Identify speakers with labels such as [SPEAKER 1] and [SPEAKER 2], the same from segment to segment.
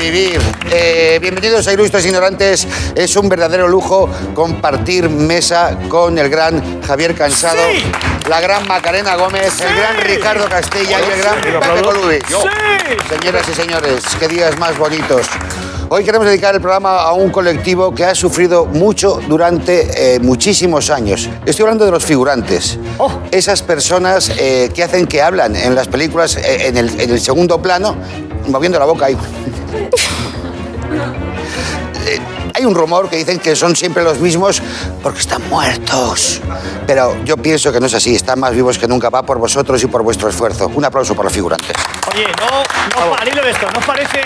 [SPEAKER 1] vivir. Eh, bienvenidos a Ilustres Ignorantes. Es un verdadero lujo compartir mesa con el gran Javier Cansado,
[SPEAKER 2] ¡Sí!
[SPEAKER 1] la gran Macarena Gómez, el gran Ricardo Castilla y el gran Pepe Colubi. Señoras y señores, qué días más bonitos. Hoy queremos dedicar el programa a un colectivo que ha sufrido mucho durante eh, muchísimos años. Estoy hablando de los figurantes.
[SPEAKER 2] Oh.
[SPEAKER 1] Esas personas eh, que hacen que hablan en las películas eh, en, el, en el segundo plano, moviendo la boca ahí. Eh, Hay un rumor que dicen que son siempre los mismos porque están muertos. Pero yo pienso que no es así. Están más vivos que nunca. Va por vosotros y por vuestro esfuerzo. Un aplauso para los figurantes.
[SPEAKER 3] Oye, no, no al hilo de esto, ¿no os parece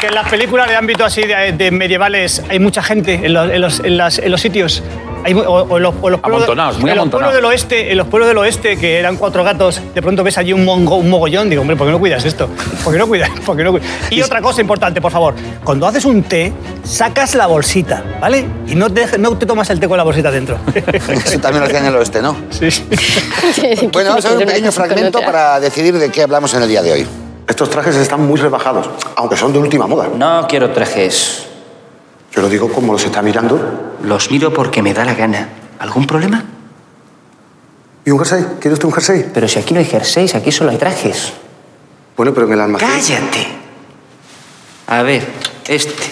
[SPEAKER 3] que en las películas de ámbito así de, de medievales hay mucha gente en los, en los- en las- en los sitios? Hay mu- o, o en los, o en los pueblos,
[SPEAKER 4] Amontonados, muy
[SPEAKER 3] en los pueblos
[SPEAKER 4] amontonados.
[SPEAKER 3] del oeste, en los pueblos del oeste que eran cuatro gatos, de pronto ves allí un, mongo, un mogollón, digo, hombre, ¿por qué no cuidas esto? ¿Por qué no cuidas? ¿Por qué no cuidas? Y otra cosa importante, por favor, cuando haces un té, sacas la bolsita, ¿vale? Y no te, dejes- no te tomas el té con la bolsita dentro.
[SPEAKER 1] Eso también lo hacían en el oeste, ¿no?
[SPEAKER 3] sí, sí.
[SPEAKER 1] Bueno, vamos a ver un pequeño fragmento para decidir de qué hablamos en el día de hoy.
[SPEAKER 5] Estos trajes están muy rebajados, aunque son de última moda.
[SPEAKER 6] No quiero trajes.
[SPEAKER 5] Yo lo digo como los está mirando.
[SPEAKER 6] Los miro porque me da la gana. ¿Algún problema?
[SPEAKER 5] ¿Y un jersey? ¿Quiere usted un jersey?
[SPEAKER 6] Pero si aquí no hay jerseys, aquí solo hay trajes.
[SPEAKER 5] Bueno, pero en el almacén.
[SPEAKER 6] ¡Cállate! A ver, este.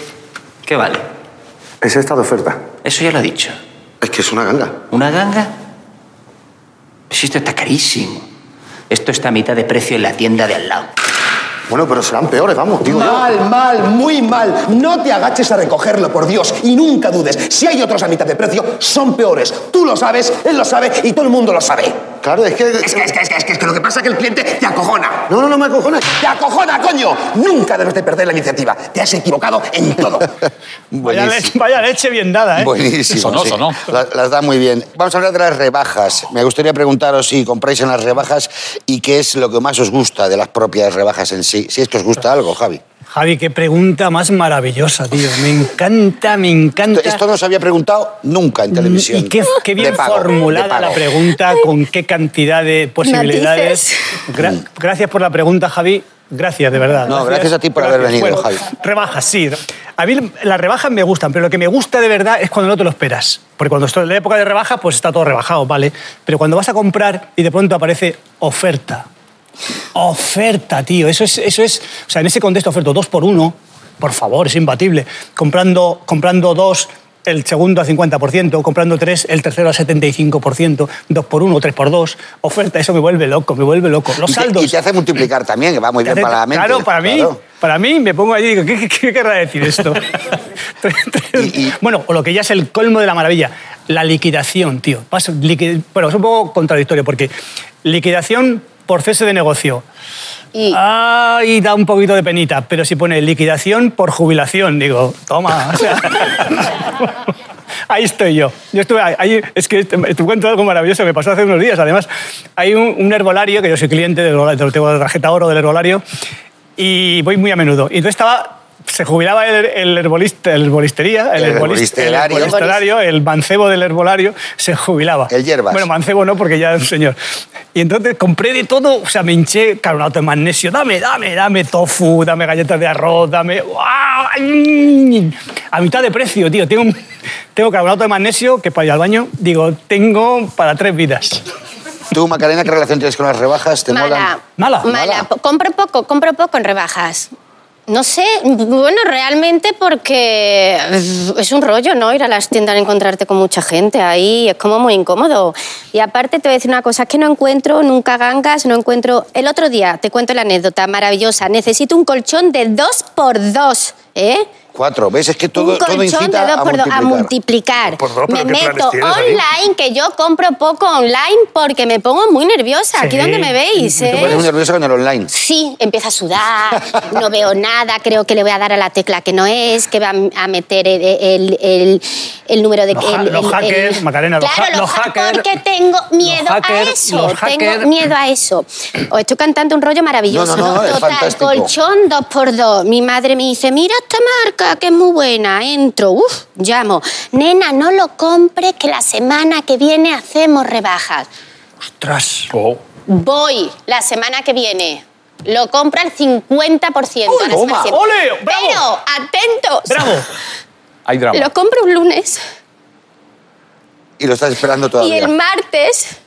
[SPEAKER 6] ¿Qué vale?
[SPEAKER 5] Es esta de oferta.
[SPEAKER 6] Eso ya lo he dicho.
[SPEAKER 5] Es que es una ganga.
[SPEAKER 6] ¿Una ganga? Si esto está carísimo. Esto está a mitad de precio en la tienda de al lado.
[SPEAKER 5] Bueno, pero serán peores, vamos, digo yo.
[SPEAKER 7] Mal, mal, muy mal. No te agaches a recogerlo, por Dios. Y nunca dudes, si hay otros a mitad de precio, son peores. Tú lo sabes, él lo sabe y todo el mundo lo sabe.
[SPEAKER 5] Claro, es que...
[SPEAKER 7] Es que, es que, es que, es que, es que lo que pasa es que el cliente te acojona.
[SPEAKER 5] No, no, no me acojones.
[SPEAKER 7] ¡Te acojona, coño! Nunca debes de perder la iniciativa. Te has equivocado en todo.
[SPEAKER 3] Vaya, le- vaya leche bien dada, ¿eh?
[SPEAKER 1] Buenísimo.
[SPEAKER 4] Sonó,
[SPEAKER 1] sí.
[SPEAKER 4] sonó.
[SPEAKER 1] La- las da muy bien. Vamos a hablar de las rebajas. Me gustaría preguntaros si compráis en las rebajas y qué es lo que más os gusta de las propias rebajas en sí. Si es que os gusta algo, Javi.
[SPEAKER 3] Javi, qué pregunta más maravillosa, tío. Me encanta, me encanta.
[SPEAKER 1] Esto no se había preguntado nunca en televisión.
[SPEAKER 3] Mm, y qué, qué
[SPEAKER 1] De
[SPEAKER 3] bien
[SPEAKER 1] pago, de
[SPEAKER 3] formulada
[SPEAKER 1] pago.
[SPEAKER 3] la pregunta, con qué cantidad de posibilidades. Gra- gracias por la pregunta, Javi. Gracias, de verdad.
[SPEAKER 1] Mm. No, gracias a ti por haber venido,
[SPEAKER 3] Bueno,
[SPEAKER 1] Javi.
[SPEAKER 3] Rebajas, sí. A mí las rebajas me gustan, pero lo que me gusta de verdad es cuando no te lo esperas. Porque cuando estoy en la época de rebajas, pues está todo rebajado, ¿vale? Pero cuando vas a comprar y de pronto aparece oferta. Oferta, tío. Eso es, eso es. O sea, en ese contexto, oferta dos por uno, por favor, es imbatible. Comprando, comprando dos, el segundo al 50%, comprando tres, el tercero al 75%, dos por uno, tres por dos. Oferta, eso me vuelve loco, me vuelve loco. Los
[SPEAKER 1] Y te-
[SPEAKER 3] saldos.
[SPEAKER 1] Y te hace multiplicar también, que va muy
[SPEAKER 3] Te
[SPEAKER 1] bien
[SPEAKER 3] hace-
[SPEAKER 1] para la mente.
[SPEAKER 3] Claro, para mí,
[SPEAKER 1] Claro.
[SPEAKER 3] para mí me pongo allí y digo, ¿qué, qué- qué querrá decir esto? Tres- tres-
[SPEAKER 1] Y- y-
[SPEAKER 3] Bueno, o lo que ya es el colmo de la maravilla, la liquidación, tío. Paso- liqui- Bueno, es un poco contradictorio porque liquidación por cese de negocio.
[SPEAKER 8] Y
[SPEAKER 3] Ay, da un poquito de penita, pero si pone liquidación por jubilación, digo, toma. o sea, ahí estoy yo. Yo estuve ahí- ahí, es que te te cuento algo maravilloso, me pasó hace unos días. Además, hay un, un herbolario, que yo soy cliente del herbolario, tengo la tarjeta oro del herbolario, y voy muy a menudo. Y entonces estaba, se jubilaba el, el herbolista, el herbolistería, el,
[SPEAKER 1] El
[SPEAKER 3] herbolista, el
[SPEAKER 1] herbolistilario.
[SPEAKER 3] herbolistilario, el mancebo del herbolario, se jubilaba.
[SPEAKER 1] El hierbas.
[SPEAKER 3] Bueno, mancebo no, porque ya es un señor. Y entonces compré de todo, o sea, me hinché carbonato de magnesio, dame, dame, dame tofu, dame galletas de arroz, dame... ¡guau! ¡Ay! A mitad de precio, tío, tengo, un- tengo carbonato de magnesio que para ir al baño, digo, tengo para tres vidas.
[SPEAKER 1] Tú, Macarena, ¿qué relación tienes con las rebajas? ¿Te molan?
[SPEAKER 8] mala.
[SPEAKER 3] Mala.
[SPEAKER 1] Mala.
[SPEAKER 8] Mala. Po- Compro poco, compro poco en rebajas. No sé, bueno, realmente porque eh, es un rollo, ¿no? Ir a las tiendas a encontrarte con mucha gente ahí, es como muy incómodo. Y aparte te voy a decir una cosa, es que no encuentro nunca gangas, no encuentro... El otro día, te cuento la anécdota maravillosa, necesito un colchón de dos por dos, ¿eh?
[SPEAKER 1] Cuatro. ¿Ves? Es que todo,
[SPEAKER 8] un
[SPEAKER 1] todo
[SPEAKER 8] colchón
[SPEAKER 1] incita
[SPEAKER 8] de dos
[SPEAKER 1] a
[SPEAKER 8] por dos,
[SPEAKER 1] multiplicar.
[SPEAKER 8] a multiplicar.
[SPEAKER 5] Por dos, pero
[SPEAKER 8] me
[SPEAKER 5] ¿qué planes
[SPEAKER 8] meto
[SPEAKER 5] tienes ahí?
[SPEAKER 8] online, que yo compro poco online porque me pongo muy nerviosa.
[SPEAKER 3] Sí.
[SPEAKER 8] Aquí donde me veis,
[SPEAKER 1] Te
[SPEAKER 8] ¿eh?
[SPEAKER 1] pones muy nervioso con el online.
[SPEAKER 8] Sí, empieza a sudar, no veo nada, creo que le voy a dar a la tecla que no es, que va a meter el, el- el- el número de...
[SPEAKER 3] Los ha-
[SPEAKER 8] el-
[SPEAKER 3] los
[SPEAKER 8] el-
[SPEAKER 3] hackers,
[SPEAKER 8] el-
[SPEAKER 3] Macarena, los
[SPEAKER 8] Claro,
[SPEAKER 3] ha- los
[SPEAKER 8] ha-
[SPEAKER 3] hackers.
[SPEAKER 8] Porque tengo miedo
[SPEAKER 3] Los hackers,
[SPEAKER 8] a eso,
[SPEAKER 3] los hackers.
[SPEAKER 8] tengo miedo a eso. Os estoy cantando un rollo maravilloso.
[SPEAKER 1] No, no, no, es
[SPEAKER 8] Total,
[SPEAKER 1] fantástico.
[SPEAKER 8] colchón dos por dos. Mi madre me dice, mira esta marca que es muy buena, entro, uff, llamo. Nena, no lo compres que la semana que viene hacemos rebajas.
[SPEAKER 3] Ostras.
[SPEAKER 8] Voy la semana que viene. lo compra al 50%. a las
[SPEAKER 3] toma!
[SPEAKER 8] personas.
[SPEAKER 3] ¡Ole! ¡Bravo!
[SPEAKER 8] Pero, atentos.
[SPEAKER 3] ¡Bravo!
[SPEAKER 2] Hay drama.
[SPEAKER 8] Lo compra un lunes
[SPEAKER 1] Y lo estás esperando
[SPEAKER 8] y
[SPEAKER 1] todavía.
[SPEAKER 8] el martes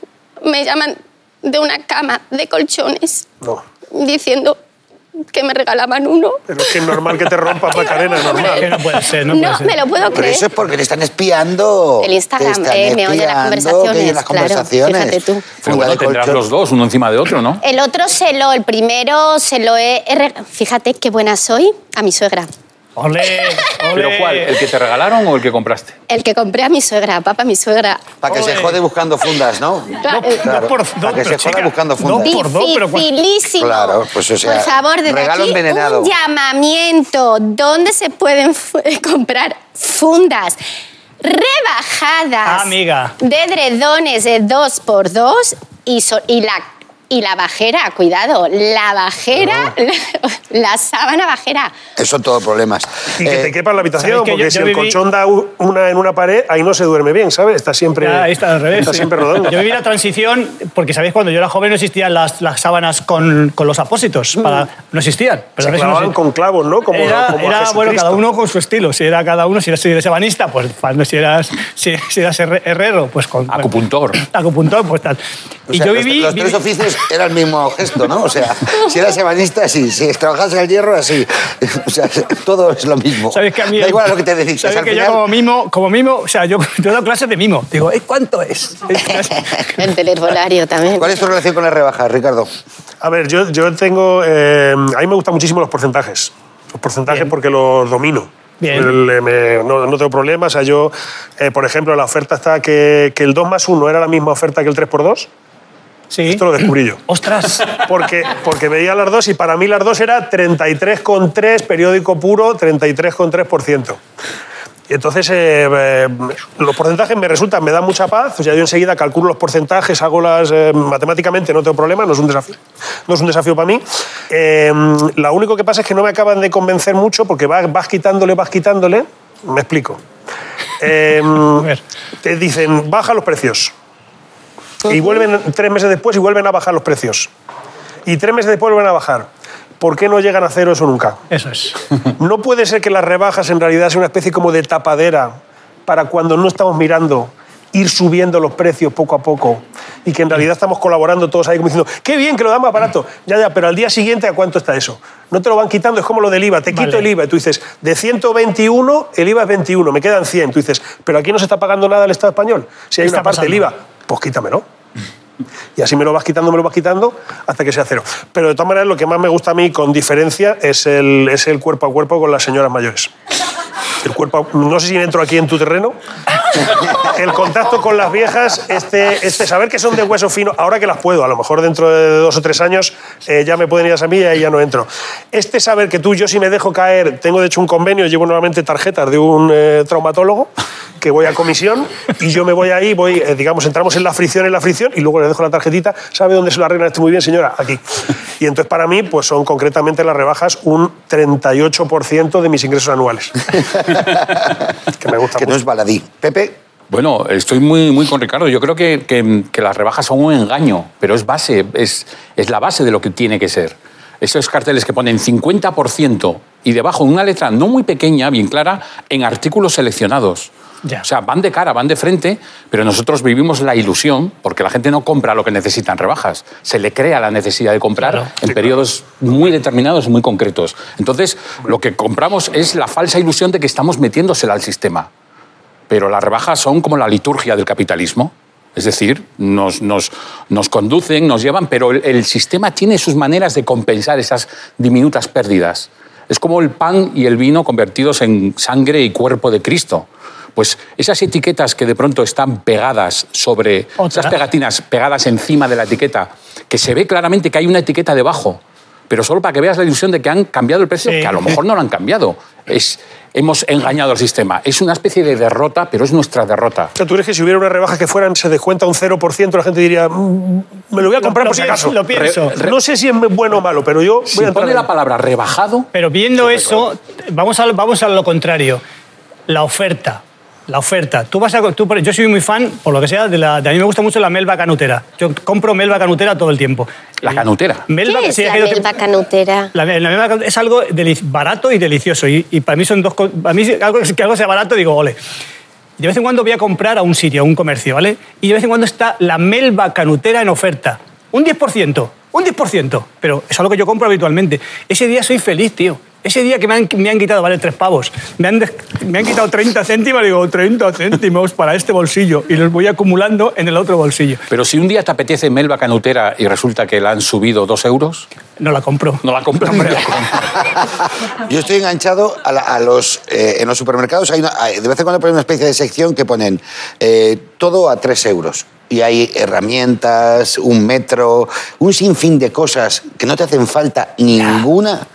[SPEAKER 8] me llaman de una cama de colchones diciendo que me regalaban uno.
[SPEAKER 4] Pero es que es normal que te rompas Macarena, es normal.
[SPEAKER 3] Que no puede ser, no,
[SPEAKER 8] No,
[SPEAKER 3] puede ser.
[SPEAKER 8] me lo puedo
[SPEAKER 1] Pero
[SPEAKER 8] creer.
[SPEAKER 1] eso es porque te están espiando.
[SPEAKER 8] ¿eh? El Instagram,
[SPEAKER 1] Te están
[SPEAKER 8] eh, me oye las
[SPEAKER 1] espiando, que oye las
[SPEAKER 8] conversaciones,
[SPEAKER 1] conversaciones.
[SPEAKER 8] claro, fíjate tú.
[SPEAKER 2] Pero
[SPEAKER 1] Fuga
[SPEAKER 2] bueno,
[SPEAKER 1] de
[SPEAKER 2] tendrás
[SPEAKER 1] colchón.
[SPEAKER 2] los dos, uno encima de otro, ¿no?
[SPEAKER 8] El otro se lo, el primero se lo he... he rega- Fíjate qué buena soy a mi suegra.
[SPEAKER 3] ¡Ole! ¡Ole!
[SPEAKER 2] ¿Pero cuál? ¿El que te regalaron o el que compraste?
[SPEAKER 8] El que compré a mi suegra, papá, mi suegra.
[SPEAKER 1] Para que se
[SPEAKER 3] Oye.
[SPEAKER 1] jode buscando fundas, ¿no?
[SPEAKER 8] Claro. Dos-
[SPEAKER 1] Claro,
[SPEAKER 3] dos por-
[SPEAKER 1] Para
[SPEAKER 3] dos,
[SPEAKER 1] que se
[SPEAKER 3] pero
[SPEAKER 1] joda
[SPEAKER 3] chica,
[SPEAKER 1] buscando
[SPEAKER 3] dos
[SPEAKER 1] fundas.
[SPEAKER 3] por- dos, pero cuan-
[SPEAKER 8] Dificilísimo.
[SPEAKER 1] Claro, pues, o sea,
[SPEAKER 8] Por favor, desde
[SPEAKER 1] regalo
[SPEAKER 8] aquí,
[SPEAKER 1] envenenado.
[SPEAKER 8] un llamamiento. ¿Dónde se pueden fu- eh, comprar fundas? Rebajadas.
[SPEAKER 3] Ah, Amiga.
[SPEAKER 8] De edredones de 2 por 2 y, so- y la... Y la bajera, cuidado, la
[SPEAKER 1] Ah.
[SPEAKER 8] bajera, la sábana bajera.
[SPEAKER 1] Son todos problemas.
[SPEAKER 4] Y que
[SPEAKER 1] Eh,
[SPEAKER 4] te quepa en la habitación,
[SPEAKER 3] ¿sabes que
[SPEAKER 4] porque
[SPEAKER 3] yo-
[SPEAKER 4] si
[SPEAKER 3] yo
[SPEAKER 4] el
[SPEAKER 3] viví-
[SPEAKER 4] colchón da u- una en una pared, ahí no se duerme bien, ¿sabes? Está siempre,
[SPEAKER 3] Ya, Ah, ahí está al revés.
[SPEAKER 4] está
[SPEAKER 3] sí.
[SPEAKER 4] siempre rodando.
[SPEAKER 3] Yo viví la transición porque, ¿sabéis? Cuando yo era joven no existían las, las sábanas con, con los apósitos.
[SPEAKER 1] Mm.
[SPEAKER 3] para- no existían. Pero
[SPEAKER 4] Se
[SPEAKER 3] a veces no
[SPEAKER 4] clavaban
[SPEAKER 3] exi-
[SPEAKER 4] con clavos, ¿no? Como,
[SPEAKER 3] era,
[SPEAKER 4] como a
[SPEAKER 3] era, bueno,
[SPEAKER 4] Jesucristo.
[SPEAKER 3] cada uno con su estilo. Si era cada uno, si eras, si eres ebanista, pues cuando si eras, si, si eras herre- herrero, pues con... bueno,
[SPEAKER 2] Acupuntor.
[SPEAKER 3] acupuntor, pues tal.
[SPEAKER 1] o
[SPEAKER 3] y
[SPEAKER 1] sea,
[SPEAKER 3] yo
[SPEAKER 1] los-
[SPEAKER 3] viví...
[SPEAKER 1] los,
[SPEAKER 3] viví-
[SPEAKER 1] tres oficios era el mismo gesto, ¿no? O sea, si eras ebanista, así. Si trabajas al hierro, así. O sea, todo es lo mismo.
[SPEAKER 3] ¿Sabes que a mí-
[SPEAKER 1] da igual a lo que te dedicas.
[SPEAKER 3] ¿sabes
[SPEAKER 1] al
[SPEAKER 3] que
[SPEAKER 1] final,
[SPEAKER 3] yo como mimo, como mimo, o sea, yo, yo he dado clases de mimo. Digo, "Eh, ¿cuánto es?
[SPEAKER 8] El telherbolario también.
[SPEAKER 1] ¿Cuál es tu relación con las rebajas, Ricardo?
[SPEAKER 4] A ver, yo, yo tengo. eh, a mí me gustan muchísimo los porcentajes. Los porcentajes
[SPEAKER 3] Bien.
[SPEAKER 4] porque los domino.
[SPEAKER 3] Bien.
[SPEAKER 4] Le- me- no, no tengo problemas. O sea, yo, eh, por ejemplo, la oferta está que, que el 2 más 1 era la misma oferta que el 3 por 2.
[SPEAKER 3] Sí.
[SPEAKER 4] Esto lo descubrí yo.
[SPEAKER 3] Ostras.
[SPEAKER 4] Porque, porque veía las dos y para mí las dos era 33,3, periódico puro, 33,3%. Y entonces eh, eh, los porcentajes me resultan, me dan mucha paz. O sea, yo enseguida calculo los porcentajes, hago las eh, matemáticamente, no tengo problema, no es un desafío, no es un desafío para mí. Eh, lo único que pasa es que no me acaban de convencer mucho porque vas, vas quitándole, vas quitándole. Me explico. Eh,
[SPEAKER 3] ver.
[SPEAKER 4] te dicen, baja los precios. Y vuelven tres meses después y vuelven a bajar los precios. Y tres meses después vuelven a bajar. ¿Por qué no llegan a cero eso nunca?
[SPEAKER 3] Eso es.
[SPEAKER 4] No puede ser que las rebajas en realidad sea una especie como de tapadera para cuando no estamos mirando ir subiendo los precios poco a poco y que en realidad estamos colaborando todos ahí como diciendo, qué bien que lo dan más barato. Ya, ya, pero al día siguiente ¿a cuánto está eso? No te lo van quitando, es como lo del IVA, te
[SPEAKER 3] Vale.
[SPEAKER 4] quito el IVA y tú dices, de 121 el IVA es 21, me quedan 100. Tú dices, pero aquí no se está pagando nada al Estado español. Si hay
[SPEAKER 3] ¿Qué
[SPEAKER 4] una
[SPEAKER 3] está
[SPEAKER 4] parte del
[SPEAKER 3] pasando?
[SPEAKER 4] IVA, pues quítamelo. Y así me lo vas quitando, me lo vas quitando hasta que sea cero. Pero de todas maneras, lo que más me gusta a mí, con diferencia, es el, es el cuerpo a cuerpo con las señoras mayores. El cuerpo, a- no sé si entro aquí en tu terreno. El contacto con las viejas, este, este saber que son de hueso fino, ahora que las puedo, a lo mejor dentro de dos o tres años eh, ya me pueden ir a esa milla y ya no entro. Este saber que tú, yo si me dejo caer, tengo de hecho un convenio, llevo nuevamente tarjetas de un eh, traumatólogo que voy a comisión y yo me voy ahí, voy, eh, digamos, entramos en la fricción, en la fricción y luego le dejo la tarjetita. ¿Sabe dónde se lo arregla esto muy bien, señora? Aquí. Y entonces para mí, pues son concretamente las rebajas un 38% de mis ingresos anuales. que me gusta
[SPEAKER 1] Que no
[SPEAKER 4] mucho.
[SPEAKER 1] es baladí. Pepe,
[SPEAKER 2] Bueno, estoy muy, muy con Ricardo. Yo creo que, que- que las rebajas son un engaño, pero es base, es, es la base de lo que tiene que ser. Esos carteles que ponen 50% y debajo una letra no muy pequeña, bien clara, en artículos seleccionados.
[SPEAKER 3] Ya.
[SPEAKER 2] O sea, van de cara, van de frente, pero nosotros vivimos la ilusión, porque la gente no compra lo que necesitan rebajas, se le crea la necesidad de comprar
[SPEAKER 3] Claro.
[SPEAKER 2] en periodos muy determinados, muy concretos. Entonces, lo que compramos es la falsa ilusión de que estamos metiéndosela al sistema pero las rebajas son como la liturgia del capitalismo. Es decir, nos, nos, nos conducen, nos llevan, pero el, el sistema tiene sus maneras de compensar esas diminutas pérdidas. Es como el pan y el vino convertidos en sangre y cuerpo de Cristo. Pues esas etiquetas que de pronto están pegadas sobre
[SPEAKER 3] Otra.
[SPEAKER 2] esas pegatinas pegadas encima de la etiqueta, que se ve claramente que hay una etiqueta debajo, pero solo para que veas la ilusión de que han cambiado el precio,
[SPEAKER 3] Sí.
[SPEAKER 2] que a lo mejor no lo han cambiado. Es, hemos engañado al sistema. Es una especie de derrota, pero es nuestra derrota.
[SPEAKER 4] O sea, ¿Tú crees que si hubiera una rebaja que fueran, se descuenta un 0%, la gente diría, "Mm, me lo voy a comprar
[SPEAKER 3] Lo
[SPEAKER 4] por si
[SPEAKER 3] pienso,
[SPEAKER 4] acaso?
[SPEAKER 3] Lo pienso.
[SPEAKER 2] Re-
[SPEAKER 4] No sé si es bueno o malo, pero yo voy
[SPEAKER 2] Si
[SPEAKER 4] a entrar
[SPEAKER 2] pone
[SPEAKER 4] ahí.
[SPEAKER 2] la palabra rebajado,
[SPEAKER 3] Pero viendo eso, vamos a, vamos a lo contrario. La oferta. la oferta. Tú vas a, tú, yo soy muy fan, por lo que sea, de, la, de a mí me gusta mucho la melva canutera. Yo compro melva canutera todo el tiempo.
[SPEAKER 2] La canutera.
[SPEAKER 8] ¿Qué es
[SPEAKER 3] sí,
[SPEAKER 8] la
[SPEAKER 3] hay dos-
[SPEAKER 8] melva canutera?
[SPEAKER 3] La, la melva canutera es algo deli- barato y delicioso. Y, y para mí son dos co- Para mí algo, que algo sea barato, digo, ole. De vez en cuando voy a comprar a un sitio, a un comercio, ¿vale? Y de vez en cuando está la melva canutera en oferta. Un 10%, un 10%. Pero es algo que yo compro habitualmente. Ese día soy feliz, tío. Ese día que me han, me han quitado, vale, tres pavos. Me han, des- me han quitado 30 céntimos, digo, 30 céntimos para este bolsillo. Y los voy acumulando en el otro bolsillo.
[SPEAKER 2] Pero si un día te apetece melva canutera y resulta que la han subido dos euros,
[SPEAKER 3] No la compro.
[SPEAKER 2] no la compras.
[SPEAKER 1] Yo estoy enganchado a, la- a los, eh, en los supermercados. Hay una- hay- de vez en cuando ponen una especie de sección que ponen eh, todo a 3 euros. Y hay herramientas, un metro, un sinfín de cosas que no te hacen falta ninguna.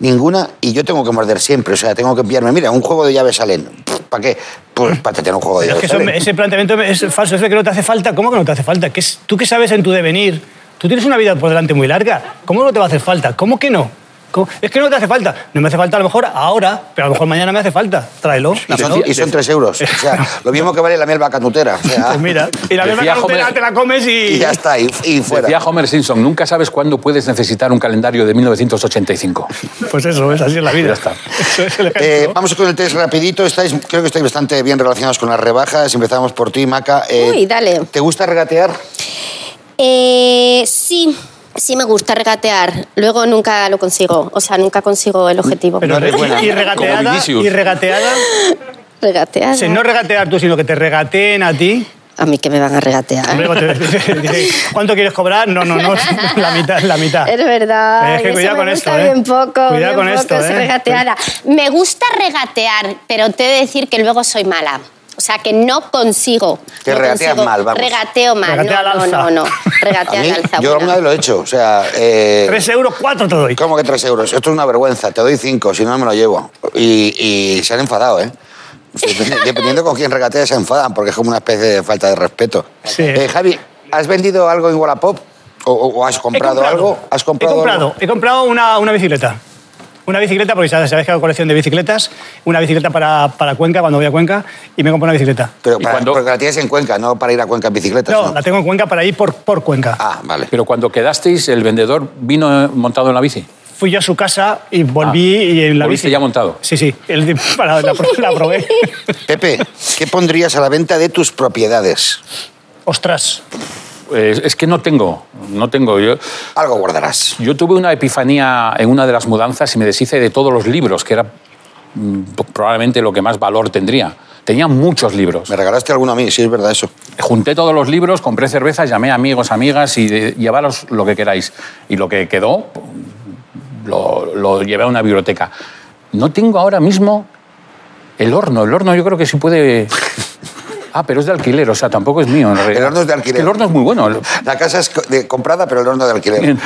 [SPEAKER 1] Ninguna, y yo tengo que morder siempre. O sea, tengo que pillarme. Mira, un juego de llaves Allen. ¿Para qué? Pues para tener un juego de
[SPEAKER 3] Pero es
[SPEAKER 1] llaves
[SPEAKER 3] que eso-
[SPEAKER 1] Allen.
[SPEAKER 3] ese planteamiento es falso, es que no te hace falta. ¿Cómo que no te hace falta? ¿Qué es, ¿Tú qué sabes en tu devenir? Tú tienes una vida por delante muy larga. ¿Cómo no te va a hacer falta? ¿Cómo que no? ¿Cómo- Es que no te hace falta. No me hace falta a lo mejor ahora, pero a lo mejor mañana me hace falta. Tráelo. Pues
[SPEAKER 1] Y
[SPEAKER 3] ¿no?
[SPEAKER 1] son, y son 3 euros. O sea, lo mismo que vale la melva canutera. O sea,
[SPEAKER 3] Pues mira, y la misma
[SPEAKER 2] Decía
[SPEAKER 3] cartera
[SPEAKER 2] Homer-
[SPEAKER 3] te la comes y...
[SPEAKER 1] y ya está, y, y fuera.
[SPEAKER 2] Decía Homer Simpson, nunca sabes cuándo puedes necesitar un calendario de 1985.
[SPEAKER 3] Pues eso, es así es la vida.
[SPEAKER 2] Ya está.
[SPEAKER 3] Eso es el ejemplo.
[SPEAKER 1] Eh, vamos con el test rapidito. Estáis, creo que estáis bastante bien relacionados con las rebajas. Empezamos por ti, Maca. Eh,
[SPEAKER 8] Uy, dale.
[SPEAKER 1] ¿Te gusta regatear?
[SPEAKER 8] Eh, sí, sí me gusta regatear. Luego nunca lo consigo. O sea, nunca consigo el objetivo.
[SPEAKER 3] Pero
[SPEAKER 1] no eres buena.
[SPEAKER 3] y
[SPEAKER 2] Como
[SPEAKER 3] regateada,
[SPEAKER 2] Vinicius.
[SPEAKER 3] y regateada,
[SPEAKER 8] regatear.
[SPEAKER 3] si no regatear tú, sino que te regateen a ti.
[SPEAKER 8] A mí que me van a regatear.
[SPEAKER 3] Luego te dicen, ¿cuánto quieres cobrar? No, no, no, la mitad, la mitad.
[SPEAKER 8] Es verdad.
[SPEAKER 3] Es que
[SPEAKER 8] eso
[SPEAKER 3] cuidado
[SPEAKER 8] me
[SPEAKER 3] con
[SPEAKER 8] gusta
[SPEAKER 3] esto, ¿eh?
[SPEAKER 8] bien poco.
[SPEAKER 3] Cuidado
[SPEAKER 8] bien
[SPEAKER 3] con
[SPEAKER 8] poco
[SPEAKER 3] esto,
[SPEAKER 8] es
[SPEAKER 3] ¿eh?
[SPEAKER 8] regateada. Me gusta regatear, pero te he de decir que luego soy mala. O sea, que no consigo.
[SPEAKER 1] Que
[SPEAKER 8] no
[SPEAKER 1] regateas
[SPEAKER 8] consigo.
[SPEAKER 1] mal, vamos.
[SPEAKER 8] Regateo mal.
[SPEAKER 3] Regatea
[SPEAKER 8] no,
[SPEAKER 3] al
[SPEAKER 8] no,
[SPEAKER 3] alza.
[SPEAKER 8] no, no. Regatea
[SPEAKER 1] A mí,
[SPEAKER 8] al alza.
[SPEAKER 1] yo alguna
[SPEAKER 8] buena.
[SPEAKER 1] vez lo he hecho. O sea, eh,
[SPEAKER 3] Tres euros, cuatro te doy.
[SPEAKER 1] ¿cómo que tres euros? Esto es una vergüenza. Te doy cinco, si no, no me lo llevo. Y, y se han enfadado, ¿eh? Dependi- Dependiendo con quién regatea, se enfadan, porque es como una especie de falta de respeto.
[SPEAKER 3] Sí.
[SPEAKER 1] Eh, Javi, ¿has vendido algo en Wallapop? ¿O, o- o has
[SPEAKER 3] He
[SPEAKER 1] comprado, algo? ¿Has comprado,
[SPEAKER 3] he comprado,
[SPEAKER 1] algo?
[SPEAKER 3] he comprado una, una bicicleta. Una bicicleta, porque sabes, sabes que hago colección de bicicletas. Una bicicleta para, para Cuenca, cuando voy a Cuenca, y me compro una bicicleta.
[SPEAKER 1] Pero
[SPEAKER 2] ¿Y
[SPEAKER 1] para,
[SPEAKER 2] cuándo?
[SPEAKER 1] porque la tienes en Cuenca, no para ir a Cuenca en bicicleta.
[SPEAKER 3] No, la tengo en Cuenca para ir por, por Cuenca.
[SPEAKER 1] Ah, vale.
[SPEAKER 2] Pero cuando quedasteis, el vendedor vino montado en la bici.
[SPEAKER 3] Fui yo a su casa y volví
[SPEAKER 2] Ah,
[SPEAKER 3] y en la
[SPEAKER 2] volviste
[SPEAKER 3] bici.
[SPEAKER 2] ya montado.
[SPEAKER 3] Sí, sí, el- para, la, pro- la probé.
[SPEAKER 1] Pepe, ¿qué pondrías a la venta de tus propiedades?
[SPEAKER 3] Ostras,
[SPEAKER 2] Eh, es que no tengo, no tengo. Yo,
[SPEAKER 1] Algo guardarás.
[SPEAKER 2] yo tuve una epifanía en una de las mudanzas y me deshice de todos los libros, que era mm, probablemente lo que más valor tendría. Tenía muchos libros.
[SPEAKER 1] Me regalaste alguno a mí, sí, es verdad eso.
[SPEAKER 2] Junté todos los libros, compré cervezas, llamé a amigos, amigas y de- llevaros lo que queráis. Y lo que quedó mm, lo, lo llevé a una biblioteca. No tengo ahora mismo el horno. El horno yo creo que sí puede... Ah, pero es de alquiler, o sea, tampoco es mío. en realidad.
[SPEAKER 1] El horno es de alquiler.
[SPEAKER 2] El horno es muy bueno.
[SPEAKER 1] La casa es co- de- comprada, pero el horno de alquiler.
[SPEAKER 2] Bien.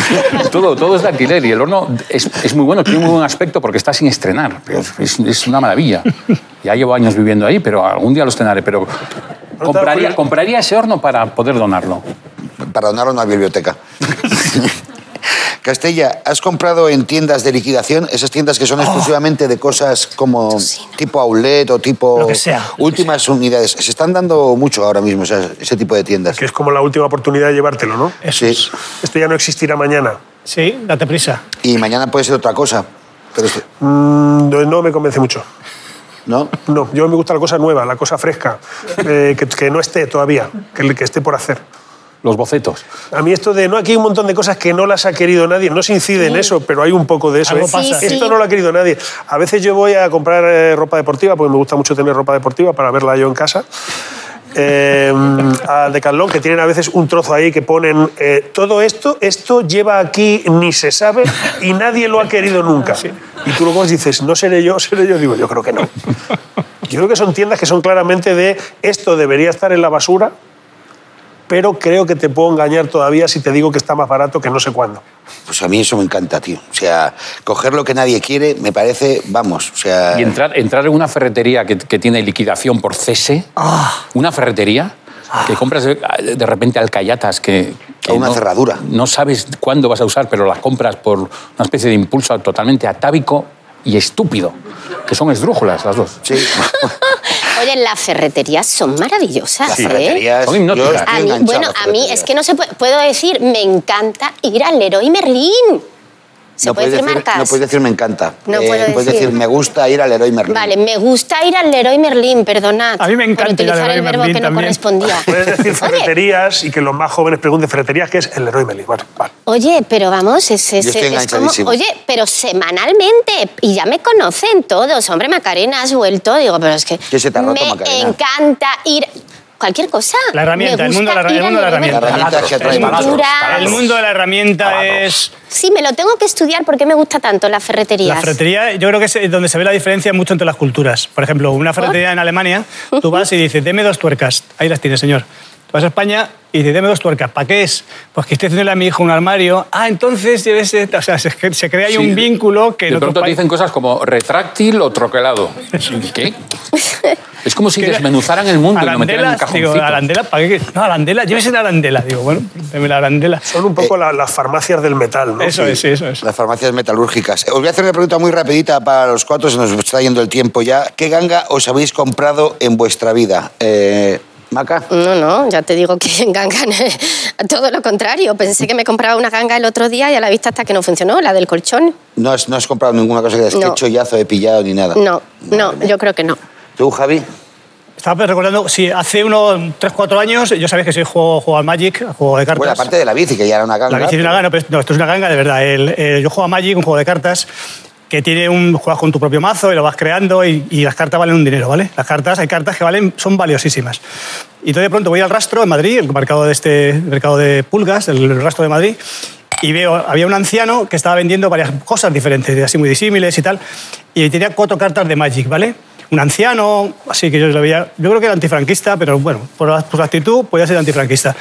[SPEAKER 2] todo, todo es de alquiler y el horno es, es muy bueno, tiene un buen aspecto porque está sin estrenar. pero Es, es una maravilla. Ya llevo años viviendo ahí, pero algún día lo estrenaré. Pero compraría, compraría ese horno para poder donarlo.
[SPEAKER 1] Para donarlo a una biblioteca. Castella, ¿has comprado en tiendas de liquidación? Esas tiendas que son
[SPEAKER 3] Oh.
[SPEAKER 1] exclusivamente de cosas como tipo outlet o tipo
[SPEAKER 3] Lo que sea.
[SPEAKER 1] últimas unidades. Se están dando mucho ahora mismo o sea, ese tipo de tiendas.
[SPEAKER 4] Que es como la última oportunidad de llevártelo, ¿no?
[SPEAKER 3] eso.
[SPEAKER 1] Sí.
[SPEAKER 3] es.
[SPEAKER 4] Esto ya no existirá mañana.
[SPEAKER 3] Sí, date prisa.
[SPEAKER 1] Y mañana puede ser otra cosa. Pero es-
[SPEAKER 4] Mm, no no me convence mucho.
[SPEAKER 1] ¿No?
[SPEAKER 4] No, yo me gusta la cosa nueva, la cosa fresca, eh, que, que no esté todavía, que, que esté por hacer.
[SPEAKER 2] Los bocetos.
[SPEAKER 4] A mí esto de no, aquí hay un montón de cosas que no las ha querido nadie, no se incide en eso, pero hay un poco de eso.
[SPEAKER 3] Algo
[SPEAKER 4] ¿eh?
[SPEAKER 3] pasa.
[SPEAKER 8] Sí,
[SPEAKER 4] Esto
[SPEAKER 8] sí.
[SPEAKER 4] no lo ha querido nadie. A veces yo voy a comprar eh, ropa deportiva, porque me gusta mucho tener ropa deportiva para verla yo en casa. Eh, al Decathlon, que tienen a veces un trozo ahí que ponen eh, todo esto, esto lleva aquí ni se sabe y nadie lo ha querido nunca. Y tú luego dices, no seré yo, seré yo. Digo, yo creo que no. Yo creo que son tiendas que son claramente de esto debería estar en la basura, pero creo que te puedo engañar todavía si te digo que está más barato que no sé cuándo.
[SPEAKER 1] Pues a mí eso me encanta, tío. O sea, coger lo que nadie quiere me parece, vamos, o sea...
[SPEAKER 2] Y entrar, entrar en una ferretería que, que tiene liquidación por cese.
[SPEAKER 1] Ah.
[SPEAKER 2] Una ferretería que compras de, de repente alcayatas que... que
[SPEAKER 1] O una cerradura.
[SPEAKER 2] No sabes cuándo vas a usar, pero las compras por una especie de impulso totalmente atávico y estúpido, que son esdrújulas las dos.
[SPEAKER 1] Sí.
[SPEAKER 8] Oye, las ferreterías son maravillosas,
[SPEAKER 1] Las
[SPEAKER 8] ¿eh?
[SPEAKER 1] ferreterías.
[SPEAKER 2] Son hipnóticas.
[SPEAKER 1] yo estoy
[SPEAKER 8] A mí,
[SPEAKER 1] enganchado
[SPEAKER 8] bueno,
[SPEAKER 1] las
[SPEAKER 8] a mí
[SPEAKER 1] ferreterías.
[SPEAKER 8] es que no se puede, puedo decir, me encanta ir al Leroy Merlin. ¿Se
[SPEAKER 1] No
[SPEAKER 8] puede
[SPEAKER 1] puedes
[SPEAKER 8] decir, marcas?
[SPEAKER 1] No puedes decir me encanta. Eh,
[SPEAKER 8] No puedo
[SPEAKER 1] Puedes
[SPEAKER 8] decir.
[SPEAKER 1] decir me gusta ir al Leroy Merlin.
[SPEAKER 8] Vale, me gusta ir al Leroy Merlin, perdonad.
[SPEAKER 3] A mí me encanta
[SPEAKER 8] Por
[SPEAKER 3] ir al
[SPEAKER 8] utilizar
[SPEAKER 3] Leroy
[SPEAKER 8] el verbo
[SPEAKER 3] Merlin
[SPEAKER 8] que no
[SPEAKER 3] también.
[SPEAKER 8] correspondía.
[SPEAKER 4] Puedes decir
[SPEAKER 8] oye,
[SPEAKER 4] ferreterías y que los más jóvenes pregunten ferreterías, que es el Leroy Merlin. Vale, vale.
[SPEAKER 8] oye, pero vamos, es, es-
[SPEAKER 1] Yo estoy
[SPEAKER 8] es como.
[SPEAKER 1] enganchadísimo.
[SPEAKER 8] Oye, pero semanalmente. Y ya me conocen todos. Hombre, Macarena, has vuelto. Digo, pero es que.
[SPEAKER 1] ¿Qué se te ha roto,
[SPEAKER 8] Me
[SPEAKER 1] Macarena?
[SPEAKER 8] encanta ir. Cualquier cosa.
[SPEAKER 3] La herramienta,
[SPEAKER 8] Me
[SPEAKER 3] el mundo de la-
[SPEAKER 8] gusta
[SPEAKER 3] el
[SPEAKER 8] ir
[SPEAKER 3] mundo
[SPEAKER 8] al
[SPEAKER 3] de la
[SPEAKER 8] Leroy
[SPEAKER 1] La
[SPEAKER 3] herramienta.
[SPEAKER 1] herramienta
[SPEAKER 2] Taladros,
[SPEAKER 1] que atrae
[SPEAKER 2] taladros,
[SPEAKER 1] mucho.
[SPEAKER 8] Cultura.
[SPEAKER 3] El
[SPEAKER 2] taladros.
[SPEAKER 3] mundo de la herramienta es...
[SPEAKER 8] Sí, me lo tengo que estudiar porque me gusta tanto las ferreterías.
[SPEAKER 3] La ferretería, yo creo que es eh, donde se ve la diferencia mucho entre las culturas. Por ejemplo, una ferretería en Alemania, tú vas y dices, deme dos tuercas. Ahí las tiene, señor. Vas a España y dices, deme dos tuercas. ¿Para qué es? Pues que estoy haciéndole a mi hijo un armario. Ah, entonces lleves. O sea, se, se crea ahí
[SPEAKER 2] Sí.
[SPEAKER 3] un vínculo que en
[SPEAKER 2] De
[SPEAKER 3] otros
[SPEAKER 2] pronto te
[SPEAKER 3] países-
[SPEAKER 2] dicen cosas como retráctil o troquelado. ¿Qué? Es como si
[SPEAKER 3] Que-
[SPEAKER 2] desmenuzaran el mundo y lo metieran en un
[SPEAKER 3] Arandelas, digo,
[SPEAKER 2] cajoncito.
[SPEAKER 3] arandela, ¿para qué? No, arandela, llévese la arandela. Digo, bueno, deme la arandela.
[SPEAKER 4] Son un poco la- las farmacias del metal, ¿no?
[SPEAKER 3] Eh. Eso es, sí, eso es.
[SPEAKER 1] Las farmacias metalúrgicas. Os voy a hacer una pregunta muy rapidita para los cuatro, se nos está yendo el tiempo ya. ¿Qué ganga os habéis comprado en vuestra vida? Eh, Maca.
[SPEAKER 8] No, no, ya te digo que en gangan todo lo contrario. Pensé que me compraba una ganga el otro día y a la vista hasta que no funcionó, la del colchón.
[SPEAKER 1] No has, no has comprado ninguna cosa que digas,
[SPEAKER 8] No.
[SPEAKER 1] qué chollazo he pillado ni nada.
[SPEAKER 8] No, no, yo creo que no.
[SPEAKER 1] ¿Tú, Javi?
[SPEAKER 3] Estaba recordando, sí, hace unos 3-4 años, yo sabéis que soy juego, juego al Magic, juego de cartas.
[SPEAKER 1] Bueno, aparte de la bici, que ya era una ganga.
[SPEAKER 3] La bici de una
[SPEAKER 1] pero-
[SPEAKER 3] ganga, no, pero- no, esto es una ganga de verdad. El- el- yo juego a Magic, un juego de cartas que tiene un juegas con tu propio mazo y lo vas creando y, y las cartas valen un dinero, ¿vale? Las cartas, hay cartas que valen, son valiosísimas. Y entonces de pronto voy al rastro en Madrid, el mercado de este el mercado de pulgas, el rastro de Madrid, y veo había un anciano que estaba vendiendo varias cosas diferentes, así muy disímiles y tal, y tenía cuatro cartas de Magic, ¿vale? Un anciano, así que yo lo veía, yo creo que era antifranquista, pero bueno, por, la- por su actitud podía ser antifranquista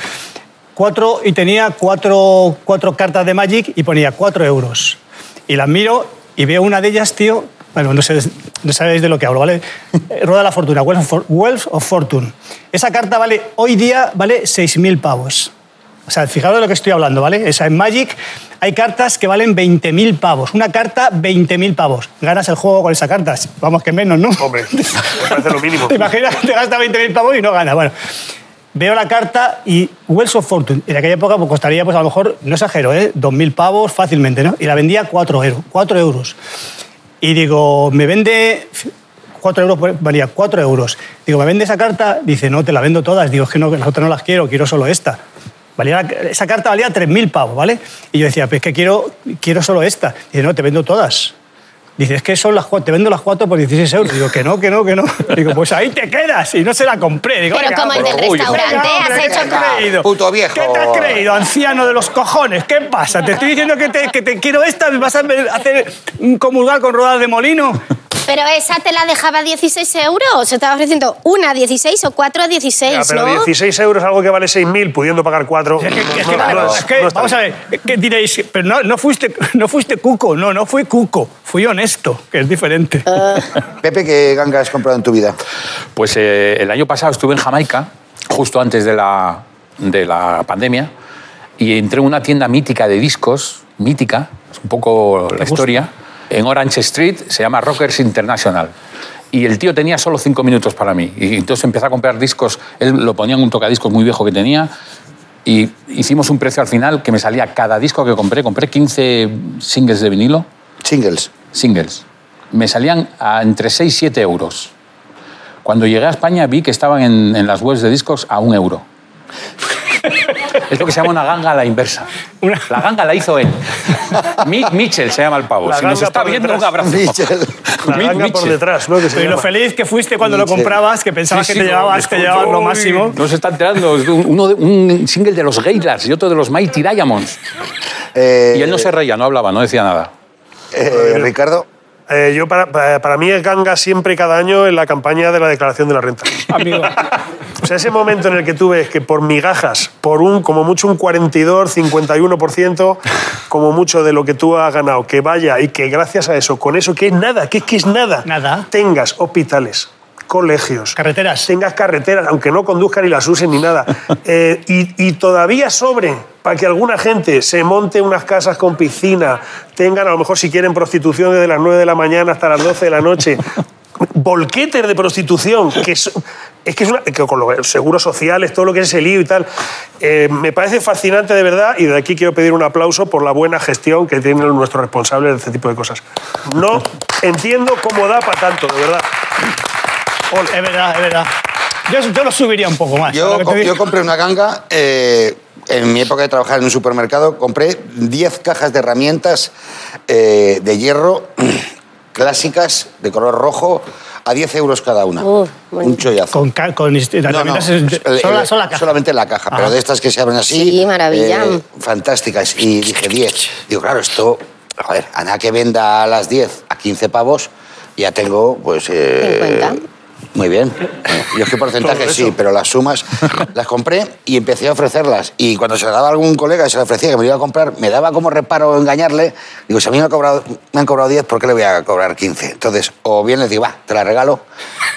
[SPEAKER 3] cuatro y tenía cuatro, cuatro cartas de Magic y ponía cuatro euros. Y las miro y veo una de ellas, tío. Bueno, no, sé, no sabéis de lo que hablo, ¿vale? Eh, Rueda de la fortuna, Wealth of, For- Wealth of Fortune. Esa carta vale, hoy día vale 6.000 pavos. O sea, fijaros de lo que estoy hablando, ¿vale? Esa en Magic hay cartas que valen 20.000 pavos. Una carta, 20.000 pavos. Ganas el juego con esa carta. Vamos, que menos, ¿no?
[SPEAKER 4] Hombre, me parece lo mínimo.
[SPEAKER 3] ¿Te imaginas que te gasta 20.000 pavos y no gana? Bueno, veo la carta y Wells of Fortune. En aquella época pues, costaría, pues a lo mejor, no exagero, ¿eh? 2.000 pavos fácilmente, ¿no? Y la vendía 4 euros. 4 euros. Y digo, me vende... 4 euros, pues, valía 4 euros. Digo, ¿me vende esa carta? Dice, no, te la vendo todas. Digo, es que no, las otras no las quiero, quiero solo esta. Valía, esa carta valía 3.000 pavos, ¿vale? Y yo decía, pues que quiero, quiero solo esta. Dice, no, te vendo todas. Dice, es que son las cuatro, te vendo las cuatro por 16 euros. Digo, que no, que no, que no. Digo, pues ahí te quedas y no se la compré. Digo,
[SPEAKER 8] Pero
[SPEAKER 3] venga,
[SPEAKER 8] como en
[SPEAKER 3] hombre,
[SPEAKER 8] el
[SPEAKER 2] orgullo.
[SPEAKER 8] restaurante
[SPEAKER 3] venga, hombre,
[SPEAKER 8] has
[SPEAKER 3] ¿qué
[SPEAKER 8] hecho
[SPEAKER 3] te has
[SPEAKER 8] como...
[SPEAKER 3] creído?
[SPEAKER 1] puto viejo.
[SPEAKER 3] ¿Qué te has creído, anciano de los cojones? ¿Qué pasa? Te estoy diciendo que te, que te quiero esta, me vas a hacer comulgar con ruedas de molino.
[SPEAKER 8] Pero esa te la dejaba 16 euros. Se estaba ofreciendo una a 16 o cuatro a 16,
[SPEAKER 4] Ya, pero
[SPEAKER 8] ¿no?
[SPEAKER 4] 16 euros, algo que vale 6.000, pudiendo pagar 4.
[SPEAKER 3] Es que, es que, claro, es que, vamos a ver, ¿qué diréis? Pero no, no, fuiste, no fuiste cuco, no, no fui cuco, fui honesto, que es diferente.
[SPEAKER 4] Ah.
[SPEAKER 1] Pepe, ¿qué ganga has comprado en tu vida?
[SPEAKER 2] Pues eh, el año pasado estuve en Jamaica, justo antes de la, de la pandemia, y entré en una tienda mítica de discos, mítica, es un poco la historia, en Orange Street, se llama Rockers International. Y el tío tenía solo cinco minutos para mí. Y entonces empecé a comprar discos, él lo ponía en un tocadiscos muy viejo que tenía, y hicimos un precio al final que me salía cada disco que compré, compré 15 singles de vinilo
[SPEAKER 1] Singles.
[SPEAKER 2] singles. Me salían a entre 6 y 7 euros. Cuando llegué a España vi que estaban en, en las webs de discos a un euro. Es lo que se llama una ganga a la inversa. La ganga la hizo él. Mi- Mitchell se llama el pavo.
[SPEAKER 4] La
[SPEAKER 2] si nos
[SPEAKER 4] ganga
[SPEAKER 2] está
[SPEAKER 4] por
[SPEAKER 2] viendo,
[SPEAKER 4] detrás.
[SPEAKER 2] un abrazo.
[SPEAKER 1] Mitchell.
[SPEAKER 4] La
[SPEAKER 2] Mi-
[SPEAKER 4] ganga por
[SPEAKER 2] Mitchell.
[SPEAKER 4] detrás, ¿no? Que se
[SPEAKER 3] y lo
[SPEAKER 4] llama.
[SPEAKER 3] feliz que fuiste cuando lo
[SPEAKER 1] Sí, sí.
[SPEAKER 3] comprabas, que pensabas
[SPEAKER 2] Sí,
[SPEAKER 3] que
[SPEAKER 2] sí,
[SPEAKER 3] te
[SPEAKER 2] no,
[SPEAKER 3] llevabas, te
[SPEAKER 2] escucho.
[SPEAKER 3] llevabas lo
[SPEAKER 2] Uy,
[SPEAKER 3] máximo.
[SPEAKER 2] No se está enterando. Es un- Uno de- un single de los Gaylars y otro de los Mighty Diamonds.
[SPEAKER 1] Eh,
[SPEAKER 2] Y él no se reía, no hablaba, no decía nada.
[SPEAKER 1] eh, Ricardo.
[SPEAKER 4] Eh, yo para, para, para mí es ganga siempre y cada año en la campaña de la declaración de la renta.
[SPEAKER 3] Amigo.
[SPEAKER 4] O sea, ese momento en el que tú ves que por migajas, por un como mucho un 42, 51%, como mucho de lo que tú has ganado, que vaya y que gracias a eso, con eso que es nada, que es que es nada,
[SPEAKER 3] Nada.
[SPEAKER 4] tengas hospitales, colegios,
[SPEAKER 3] Carreteras.
[SPEAKER 4] tengas carreteras, aunque no conduzcan ni las usen ni nada, eh, y, y todavía sobre para que alguna gente se monte unas casas con piscina, tengan a lo mejor si quieren prostitución desde las 9 de la mañana hasta las 12 de la noche. volquetes de prostitución, que es, es que es una, que con los seguros sociales, todo lo que es ese lío y tal, eh, me parece fascinante de verdad y de aquí quiero pedir un aplauso por la buena gestión que tienen nuestros responsables de este tipo de cosas. No entiendo cómo da para tanto, de verdad.
[SPEAKER 3] Es verdad, es verdad. Yo, yo lo subiría un poco más. lo
[SPEAKER 1] Yo,
[SPEAKER 3] que te
[SPEAKER 1] co-
[SPEAKER 3] digo.
[SPEAKER 1] yo compré una ganga. eh, en mi época de trabajar en un supermercado, compré 10 cajas de herramientas eh, de hierro clásicas de color rojo a 10 euros cada una.
[SPEAKER 8] Uh, bueno.
[SPEAKER 1] un chollazo.
[SPEAKER 3] con, ca- con inst-
[SPEAKER 1] No, no,
[SPEAKER 3] herramientas
[SPEAKER 1] el-
[SPEAKER 3] es-
[SPEAKER 1] el-
[SPEAKER 3] solo, la- solo la caja.
[SPEAKER 1] Solamente la caja, pero
[SPEAKER 3] Ah.
[SPEAKER 1] de estas que se abren así. eh,
[SPEAKER 8] Sí, maravilla.
[SPEAKER 1] fantásticas. Y dije 10. Digo, claro, esto, joder, a nada que venda a las 10 a 15 pavos, ya tengo, pues. eh,
[SPEAKER 8] 50.
[SPEAKER 1] Muy bien. Yo es que porcentaje sí, pero las sumas las compré y empecé a ofrecerlas. Y cuando se la daba a algún colega, se la ofrecía que me lo iba a comprar, me daba como reparo engañarle. Digo, si a mí me, ha cobrado, me han cobrado 10, ¿por qué le voy a cobrar 15? Entonces, o bien les digo, va, te la regalo,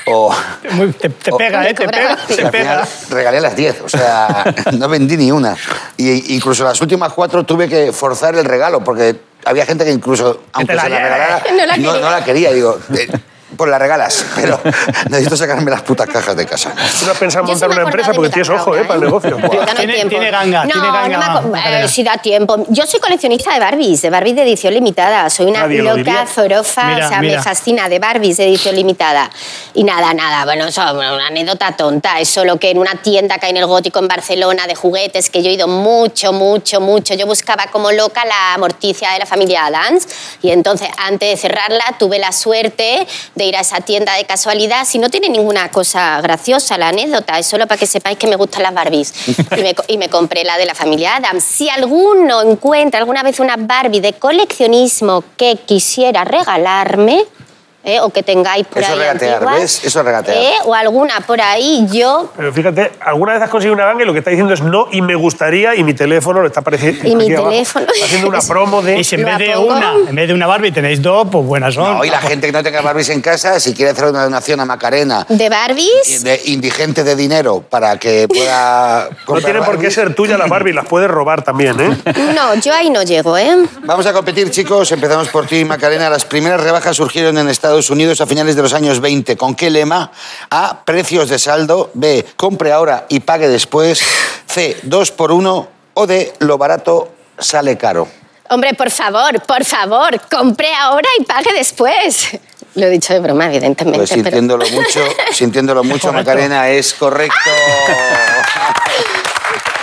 [SPEAKER 1] o,
[SPEAKER 3] Muy- te, te
[SPEAKER 1] Oh.
[SPEAKER 3] pega, ¿eh? Te
[SPEAKER 8] Cobra.
[SPEAKER 3] pega,
[SPEAKER 1] y
[SPEAKER 3] te
[SPEAKER 1] al final
[SPEAKER 3] pega.
[SPEAKER 1] regalé las 10, o sea, no vendí ni una. Y incluso las últimas cuatro tuve que forzar el regalo, porque había gente que incluso, aunque
[SPEAKER 3] la
[SPEAKER 1] se la
[SPEAKER 3] lleve.
[SPEAKER 1] regalara,
[SPEAKER 8] No la quería.
[SPEAKER 1] la quería. Digo, eh, pues la regalas, pero necesito sacarme las putas cajas de casa.
[SPEAKER 4] Tú no has pensado en
[SPEAKER 8] Yo sí
[SPEAKER 4] montar
[SPEAKER 8] me
[SPEAKER 4] una
[SPEAKER 8] he
[SPEAKER 4] empresa
[SPEAKER 8] acordado de
[SPEAKER 4] porque
[SPEAKER 8] mi
[SPEAKER 4] tienes
[SPEAKER 8] ganga
[SPEAKER 4] ojo
[SPEAKER 8] ahora,
[SPEAKER 4] eh, para el negocio.
[SPEAKER 8] Ya no hay
[SPEAKER 3] Tiene-
[SPEAKER 8] tiempo.
[SPEAKER 3] tiene ganga,
[SPEAKER 8] No,
[SPEAKER 3] tiene ganga,
[SPEAKER 8] no me acu-
[SPEAKER 3] Magdalena.
[SPEAKER 8] eh, sí da tiempo. Yo soy coleccionista de Barbies, de Barbies de edición limitada. Soy una
[SPEAKER 4] Nadie lo diría.
[SPEAKER 8] loca zorofa,
[SPEAKER 3] Mira,
[SPEAKER 8] o sea,
[SPEAKER 3] mira.
[SPEAKER 8] me fascina de Barbies de edición limitada. Y nada, nada, bueno, eso es una anécdota tonta. Es solo que en una tienda que hay en el Gótico en Barcelona de juguetes, que yo he ido mucho, mucho, mucho. Yo buscaba como loca la morticia de la familia Adams. Y entonces, antes de cerrarla, tuve la suerte de ir a esa tienda de casualidad. Si no tiene ninguna cosa graciosa la anécdota, es solo para que sepáis que me gustan las Barbies. Y me, co- y me compré la de la familia Adams. Si alguno encuentra alguna vez una Barbie de coleccionismo que quisiera regalarme, ¿eh? o que tengáis por
[SPEAKER 1] Eso
[SPEAKER 8] ahí
[SPEAKER 1] es regatear,
[SPEAKER 8] antiguas,
[SPEAKER 1] ¿ves? Eso es regatear.
[SPEAKER 8] ¿eh? o alguna por ahí, yo
[SPEAKER 4] Pero fíjate, alguna vez has conseguido una ganga y lo que está diciendo es no y me gustaría y mi teléfono lo está apareciendo.
[SPEAKER 8] Y mi
[SPEAKER 4] aquí abajo.
[SPEAKER 8] teléfono.
[SPEAKER 4] Está haciendo una promo de.
[SPEAKER 3] Y si en
[SPEAKER 8] ¿La
[SPEAKER 3] vez de
[SPEAKER 8] pongo?
[SPEAKER 3] una, en vez de una Barbie tenéis dos, pues buenas son.
[SPEAKER 1] No, y la gente que no tenga Barbies en casa, si quiere hacer una donación a Macarena
[SPEAKER 8] de Barbies.
[SPEAKER 1] de indigente de dinero para que pueda
[SPEAKER 4] No
[SPEAKER 1] comprar
[SPEAKER 4] tiene por qué
[SPEAKER 1] Barbies.
[SPEAKER 4] ser tuya la Barbie, las puedes robar también, ¿eh?
[SPEAKER 8] No, yo ahí no llego, ¿eh?
[SPEAKER 1] Vamos a competir, chicos. Empezamos por ti, Macarena. Las primeras rebajas surgieron en Estados Unidos a finales de los años 20. ¿Con qué lema? A. Precios de saldo. B. Compre ahora y pague después. C. Dos por uno. O D. Lo barato sale caro.
[SPEAKER 8] Hombre, por favor, por favor, compré ahora y pague después. Lo he dicho de broma, evidentemente.
[SPEAKER 1] Pues
[SPEAKER 8] pero-
[SPEAKER 1] sintiéndolo mucho, sintiéndolo mucho, Macarena, es correcto.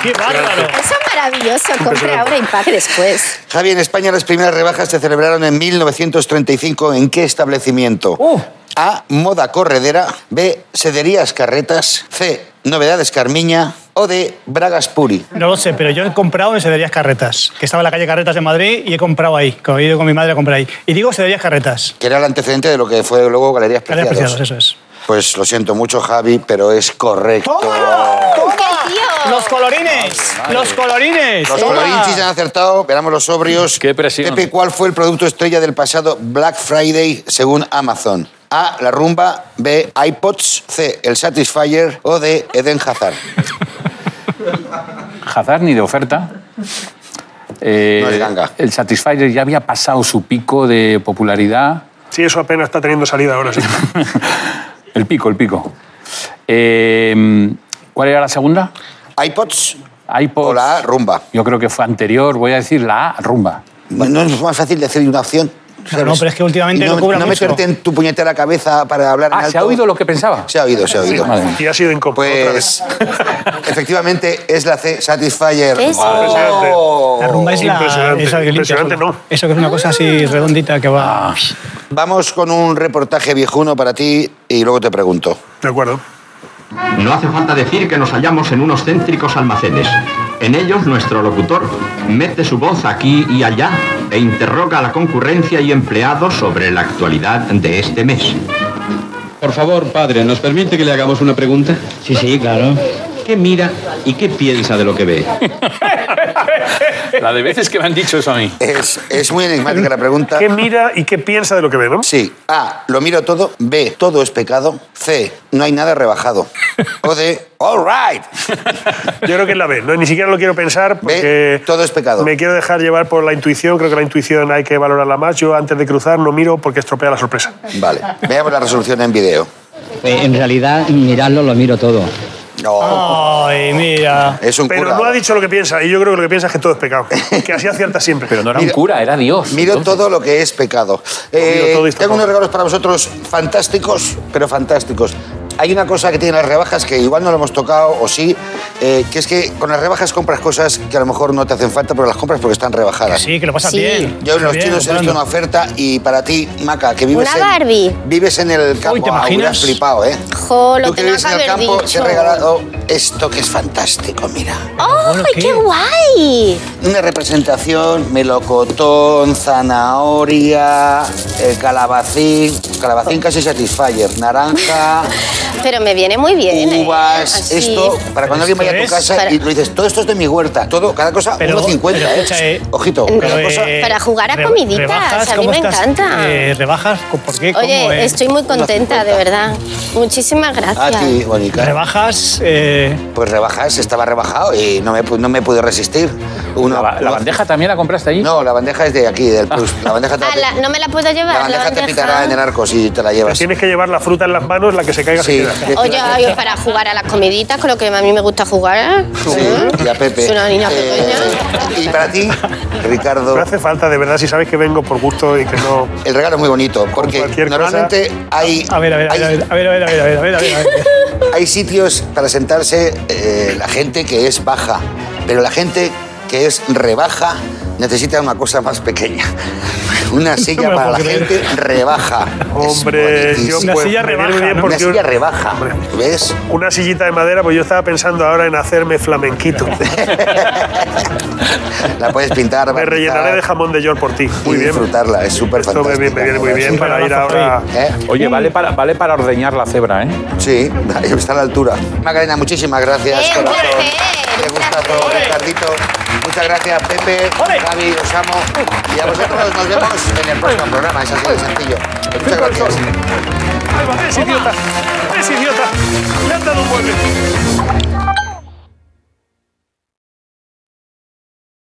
[SPEAKER 3] ¡Qué bárbaro!
[SPEAKER 8] Eso es maravilloso, compre ahora y pague después.
[SPEAKER 1] Javi, en España las primeras rebajas se celebraron en 1935. ¿En qué establecimiento?
[SPEAKER 3] Uh.
[SPEAKER 1] A. Moda Corredera. B. Sederías Carretas. C. Novedades Carmiña. O D. Bragas Puri.
[SPEAKER 3] No lo sé, pero yo he comprado en Sederías Carretas, que estaba en la calle Carretas de Madrid y he comprado ahí. que He ido con mi madre a comprar ahí. Y digo Sederías Carretas.
[SPEAKER 1] Que era el antecedente de lo que fue luego Galerías
[SPEAKER 3] Gracias,
[SPEAKER 1] Preciados.
[SPEAKER 3] preciados, eso es.
[SPEAKER 1] Pues lo siento mucho, Javi, pero es correcto.
[SPEAKER 8] ¡Qué tío!
[SPEAKER 3] ¡Los colorines! ¡Los colorines!
[SPEAKER 1] Los
[SPEAKER 3] Toma.
[SPEAKER 1] colorinchis han acertado, veamos los sobrios.
[SPEAKER 2] Qué presión.
[SPEAKER 1] Pepe, ¿cuál fue el producto estrella del pasado Black Friday según Amazon? A, la rumba, B, iPods, C, el Satisfyer o D, Eden Hazard.
[SPEAKER 2] Hazard ni de oferta. Eh,
[SPEAKER 1] No es ganga.
[SPEAKER 2] El Satisfyer ya había pasado su pico de popularidad.
[SPEAKER 4] Sí, eso apenas está teniendo salida ahora, sí.
[SPEAKER 2] el pico, el pico. Eh, ¿Cuál era la segunda?
[SPEAKER 1] ¿iPods
[SPEAKER 2] iPod.
[SPEAKER 1] o la A, rumba?
[SPEAKER 2] Yo creo que fue anterior, voy a decir la A, rumba.
[SPEAKER 1] No es más fácil decir una opción. ¿sabes?
[SPEAKER 3] no, pero es que últimamente
[SPEAKER 1] Y no,
[SPEAKER 3] lo cubra
[SPEAKER 1] no
[SPEAKER 3] mucho.
[SPEAKER 1] meterte en tu puñetera cabeza para hablar en
[SPEAKER 2] Ah, ¿se ha
[SPEAKER 1] alto.
[SPEAKER 2] oído lo que pensaba?
[SPEAKER 1] Se ha oído, se ha oído.
[SPEAKER 2] Madre mía.
[SPEAKER 4] Y ha sido incompleto otra vez.
[SPEAKER 1] Pues efectivamente es la C, Satisfyer.
[SPEAKER 8] ¿Ves?
[SPEAKER 3] La rumba es la...
[SPEAKER 4] Impresionante,
[SPEAKER 3] esa que limpia
[SPEAKER 4] impresionante,
[SPEAKER 3] sola.
[SPEAKER 4] ¿no?
[SPEAKER 3] Eso que es una cosa así redondita que va...
[SPEAKER 1] Vamos con un reportaje viejuno para ti y luego te pregunto.
[SPEAKER 4] De acuerdo.
[SPEAKER 9] No hace falta decir que nos hallamos en unos céntricos almacenes. En ellos nuestro locutor mete su voz aquí y allá e interroga a la concurrencia y empleados sobre la actualidad de este mes. Por favor, padre, ¿nos permite que le hagamos una pregunta? Sí, sí, claro. ¿Qué mira y qué piensa de lo que ve?
[SPEAKER 2] La de veces que me han dicho eso a mí.
[SPEAKER 1] Es, es muy enigmática la pregunta.
[SPEAKER 4] ¿Qué mira y qué piensa de lo que ve, no?
[SPEAKER 1] Sí. A. Lo miro todo. B. Todo es pecado. C. No hay nada rebajado. o de all right.
[SPEAKER 4] Yo creo que es la B. No, ni siquiera lo quiero pensar porque.
[SPEAKER 1] todo es pecado.
[SPEAKER 4] Me quiero dejar llevar por la intuición. Creo que la intuición hay que valorarla más. Yo antes de cruzar no miro porque estropea la sorpresa.
[SPEAKER 1] Vale, veamos la resolución en video.
[SPEAKER 10] Eh, En realidad, mirarlo lo miro todo.
[SPEAKER 1] No,
[SPEAKER 3] Ay, mira.
[SPEAKER 1] es un
[SPEAKER 4] Pero
[SPEAKER 1] cura.
[SPEAKER 4] no ha dicho lo que piensa. Y yo creo que lo que piensa es que todo es pecado. Que así acierta siempre.
[SPEAKER 2] Pero no era
[SPEAKER 1] Mira,
[SPEAKER 2] un cura, era Dios.
[SPEAKER 1] Miro
[SPEAKER 2] entonces.
[SPEAKER 1] todo lo que es pecado. Eh,
[SPEAKER 4] todo y está
[SPEAKER 1] tengo
[SPEAKER 4] todo.
[SPEAKER 1] unos regalos para vosotros fantásticos, pero fantásticos. Hay una cosa que tienen las rebajas que igual no lo hemos tocado, o sí, eh, que es que con las rebajas compras cosas que a lo mejor no te hacen falta, pero las compras porque están rebajadas.
[SPEAKER 3] Sí, que lo pasas
[SPEAKER 8] Sí.
[SPEAKER 3] bien.
[SPEAKER 1] Yo en los
[SPEAKER 3] Bien,
[SPEAKER 1] chinos he visto una
[SPEAKER 3] comprando.
[SPEAKER 1] oferta y para ti, Maca, que vives
[SPEAKER 8] Una
[SPEAKER 1] en...
[SPEAKER 8] Barbie.
[SPEAKER 1] Vives en el campo.
[SPEAKER 3] ¿te
[SPEAKER 1] Ah, hubieras
[SPEAKER 3] imaginas?
[SPEAKER 1] flipado, ¿eh?
[SPEAKER 8] Jo, lo
[SPEAKER 1] Tú que
[SPEAKER 8] tenía
[SPEAKER 1] vives
[SPEAKER 8] que
[SPEAKER 1] en el
[SPEAKER 8] haber
[SPEAKER 1] campo, te he
[SPEAKER 8] dicho.
[SPEAKER 1] regalado esto que es fantástico, mira.
[SPEAKER 8] ¡Ay,
[SPEAKER 3] ¿qué?
[SPEAKER 8] qué guay!
[SPEAKER 1] Una representación, melocotón, zanahoria, eh, calabacín, calabacín casi satisfyer, naranja,
[SPEAKER 8] Pero me viene muy bien. ¿eh?
[SPEAKER 1] uvas,
[SPEAKER 8] Así.
[SPEAKER 1] esto, para cuando alguien vaya
[SPEAKER 3] Pero
[SPEAKER 1] a tu
[SPEAKER 3] esto es
[SPEAKER 1] casa
[SPEAKER 8] para-
[SPEAKER 1] y lo dices, todo esto es de mi huerta, todo, cada cosa
[SPEAKER 3] Pero-
[SPEAKER 1] 1,50,
[SPEAKER 3] pero escucha,
[SPEAKER 1] ¿eh?
[SPEAKER 3] eh,
[SPEAKER 1] Ojito, cada
[SPEAKER 3] Pero,
[SPEAKER 1] cosa...
[SPEAKER 3] eh,
[SPEAKER 8] Para jugar a
[SPEAKER 3] re-
[SPEAKER 8] comiditas,
[SPEAKER 3] rebajas,
[SPEAKER 8] a mí
[SPEAKER 3] ¿cómo
[SPEAKER 8] me
[SPEAKER 3] estás?
[SPEAKER 8] encanta.
[SPEAKER 3] Eh, rebajas, ¿por qué? ¿Cómo,
[SPEAKER 8] Oye,
[SPEAKER 3] eh?
[SPEAKER 8] estoy muy contenta,
[SPEAKER 1] 1,50.
[SPEAKER 8] de verdad. Muchísimas
[SPEAKER 1] A
[SPEAKER 8] gracias.
[SPEAKER 1] ti, Bonica.
[SPEAKER 3] Rebajas, eh,
[SPEAKER 1] Pues rebajas, estaba rebajado y no me, pu- no me pude resistir. Uno,
[SPEAKER 2] La, ba- la
[SPEAKER 1] uno-
[SPEAKER 2] bandeja también la compraste allí.
[SPEAKER 1] No, la bandeja es de aquí, del Plus. La bandeja te, la
[SPEAKER 8] Ah,
[SPEAKER 1] pi-
[SPEAKER 8] la- no me la puedo
[SPEAKER 1] la
[SPEAKER 8] llevar.
[SPEAKER 1] bandeja te pitará en el arco si te la llevas.
[SPEAKER 4] Tienes que llevar la fruta en las manos, la que se caiga se
[SPEAKER 1] pues, Sí,
[SPEAKER 4] queda.
[SPEAKER 8] Oye, oye, para jugar a las comiditas, con lo que a mí me gusta jugar. ¿eh?
[SPEAKER 1] Sí, y a Pepe.
[SPEAKER 8] Soy una niña
[SPEAKER 1] Eh,
[SPEAKER 8] pequeña.
[SPEAKER 1] y para ti, Ricardo,
[SPEAKER 4] No hace falta, de verdad, si sabes que vengo por gusto y que no.
[SPEAKER 1] el regalo es muy bonito, porque
[SPEAKER 4] cualquier cosa-
[SPEAKER 1] normalmente hay,
[SPEAKER 3] a ver, a ver, a
[SPEAKER 1] hay,
[SPEAKER 3] ver, a ver, a ver, a ver, a ver, a ver, a ver, a ver.
[SPEAKER 1] hay sitios para sentarse eh, la gente que es baja, pero la gente que es rebaja necesita una cosa más pequeña. Una silla
[SPEAKER 3] me
[SPEAKER 1] para la
[SPEAKER 3] puedo creer.
[SPEAKER 1] gente rebaja. Es
[SPEAKER 4] Hombre, yo
[SPEAKER 1] buenísimo.
[SPEAKER 3] Una
[SPEAKER 4] pues,
[SPEAKER 3] silla
[SPEAKER 4] me viene
[SPEAKER 3] rebaja,
[SPEAKER 4] bien
[SPEAKER 3] ¿no?
[SPEAKER 1] Una
[SPEAKER 4] porque
[SPEAKER 1] silla rebaja, ¿ves?
[SPEAKER 4] una sillita de madera, pues yo estaba pensando ahora en hacerme flamenquito.
[SPEAKER 1] La puedes pintar,
[SPEAKER 4] Me
[SPEAKER 1] barnizar
[SPEAKER 4] rellenaré de jamón de york por ti.
[SPEAKER 1] y
[SPEAKER 4] Muy bien.
[SPEAKER 1] disfrutarla, es súper
[SPEAKER 4] Esto me,
[SPEAKER 1] fantástica.
[SPEAKER 4] me viene muy bien para ir ahora.
[SPEAKER 1] ¿Eh?
[SPEAKER 2] Oye, vale para, vale para ordeñar la cebra, ¿eh?
[SPEAKER 1] Sí, está a la altura. Macarena, muchísimas gracias.
[SPEAKER 8] Eh, un
[SPEAKER 1] corazón.
[SPEAKER 8] placer,
[SPEAKER 1] Qué
[SPEAKER 8] un
[SPEAKER 1] gustazo,
[SPEAKER 8] placer.
[SPEAKER 1] Ricardito. Muchas gracias, Pepe,
[SPEAKER 3] Ole.
[SPEAKER 1] Javi, os amo. Y a vosotros nos vemos en el próximo programa. Es así de sencillo. Muchas gracias.
[SPEAKER 4] Alba, eres idiota. Eres idiota. Le han dado un mueble.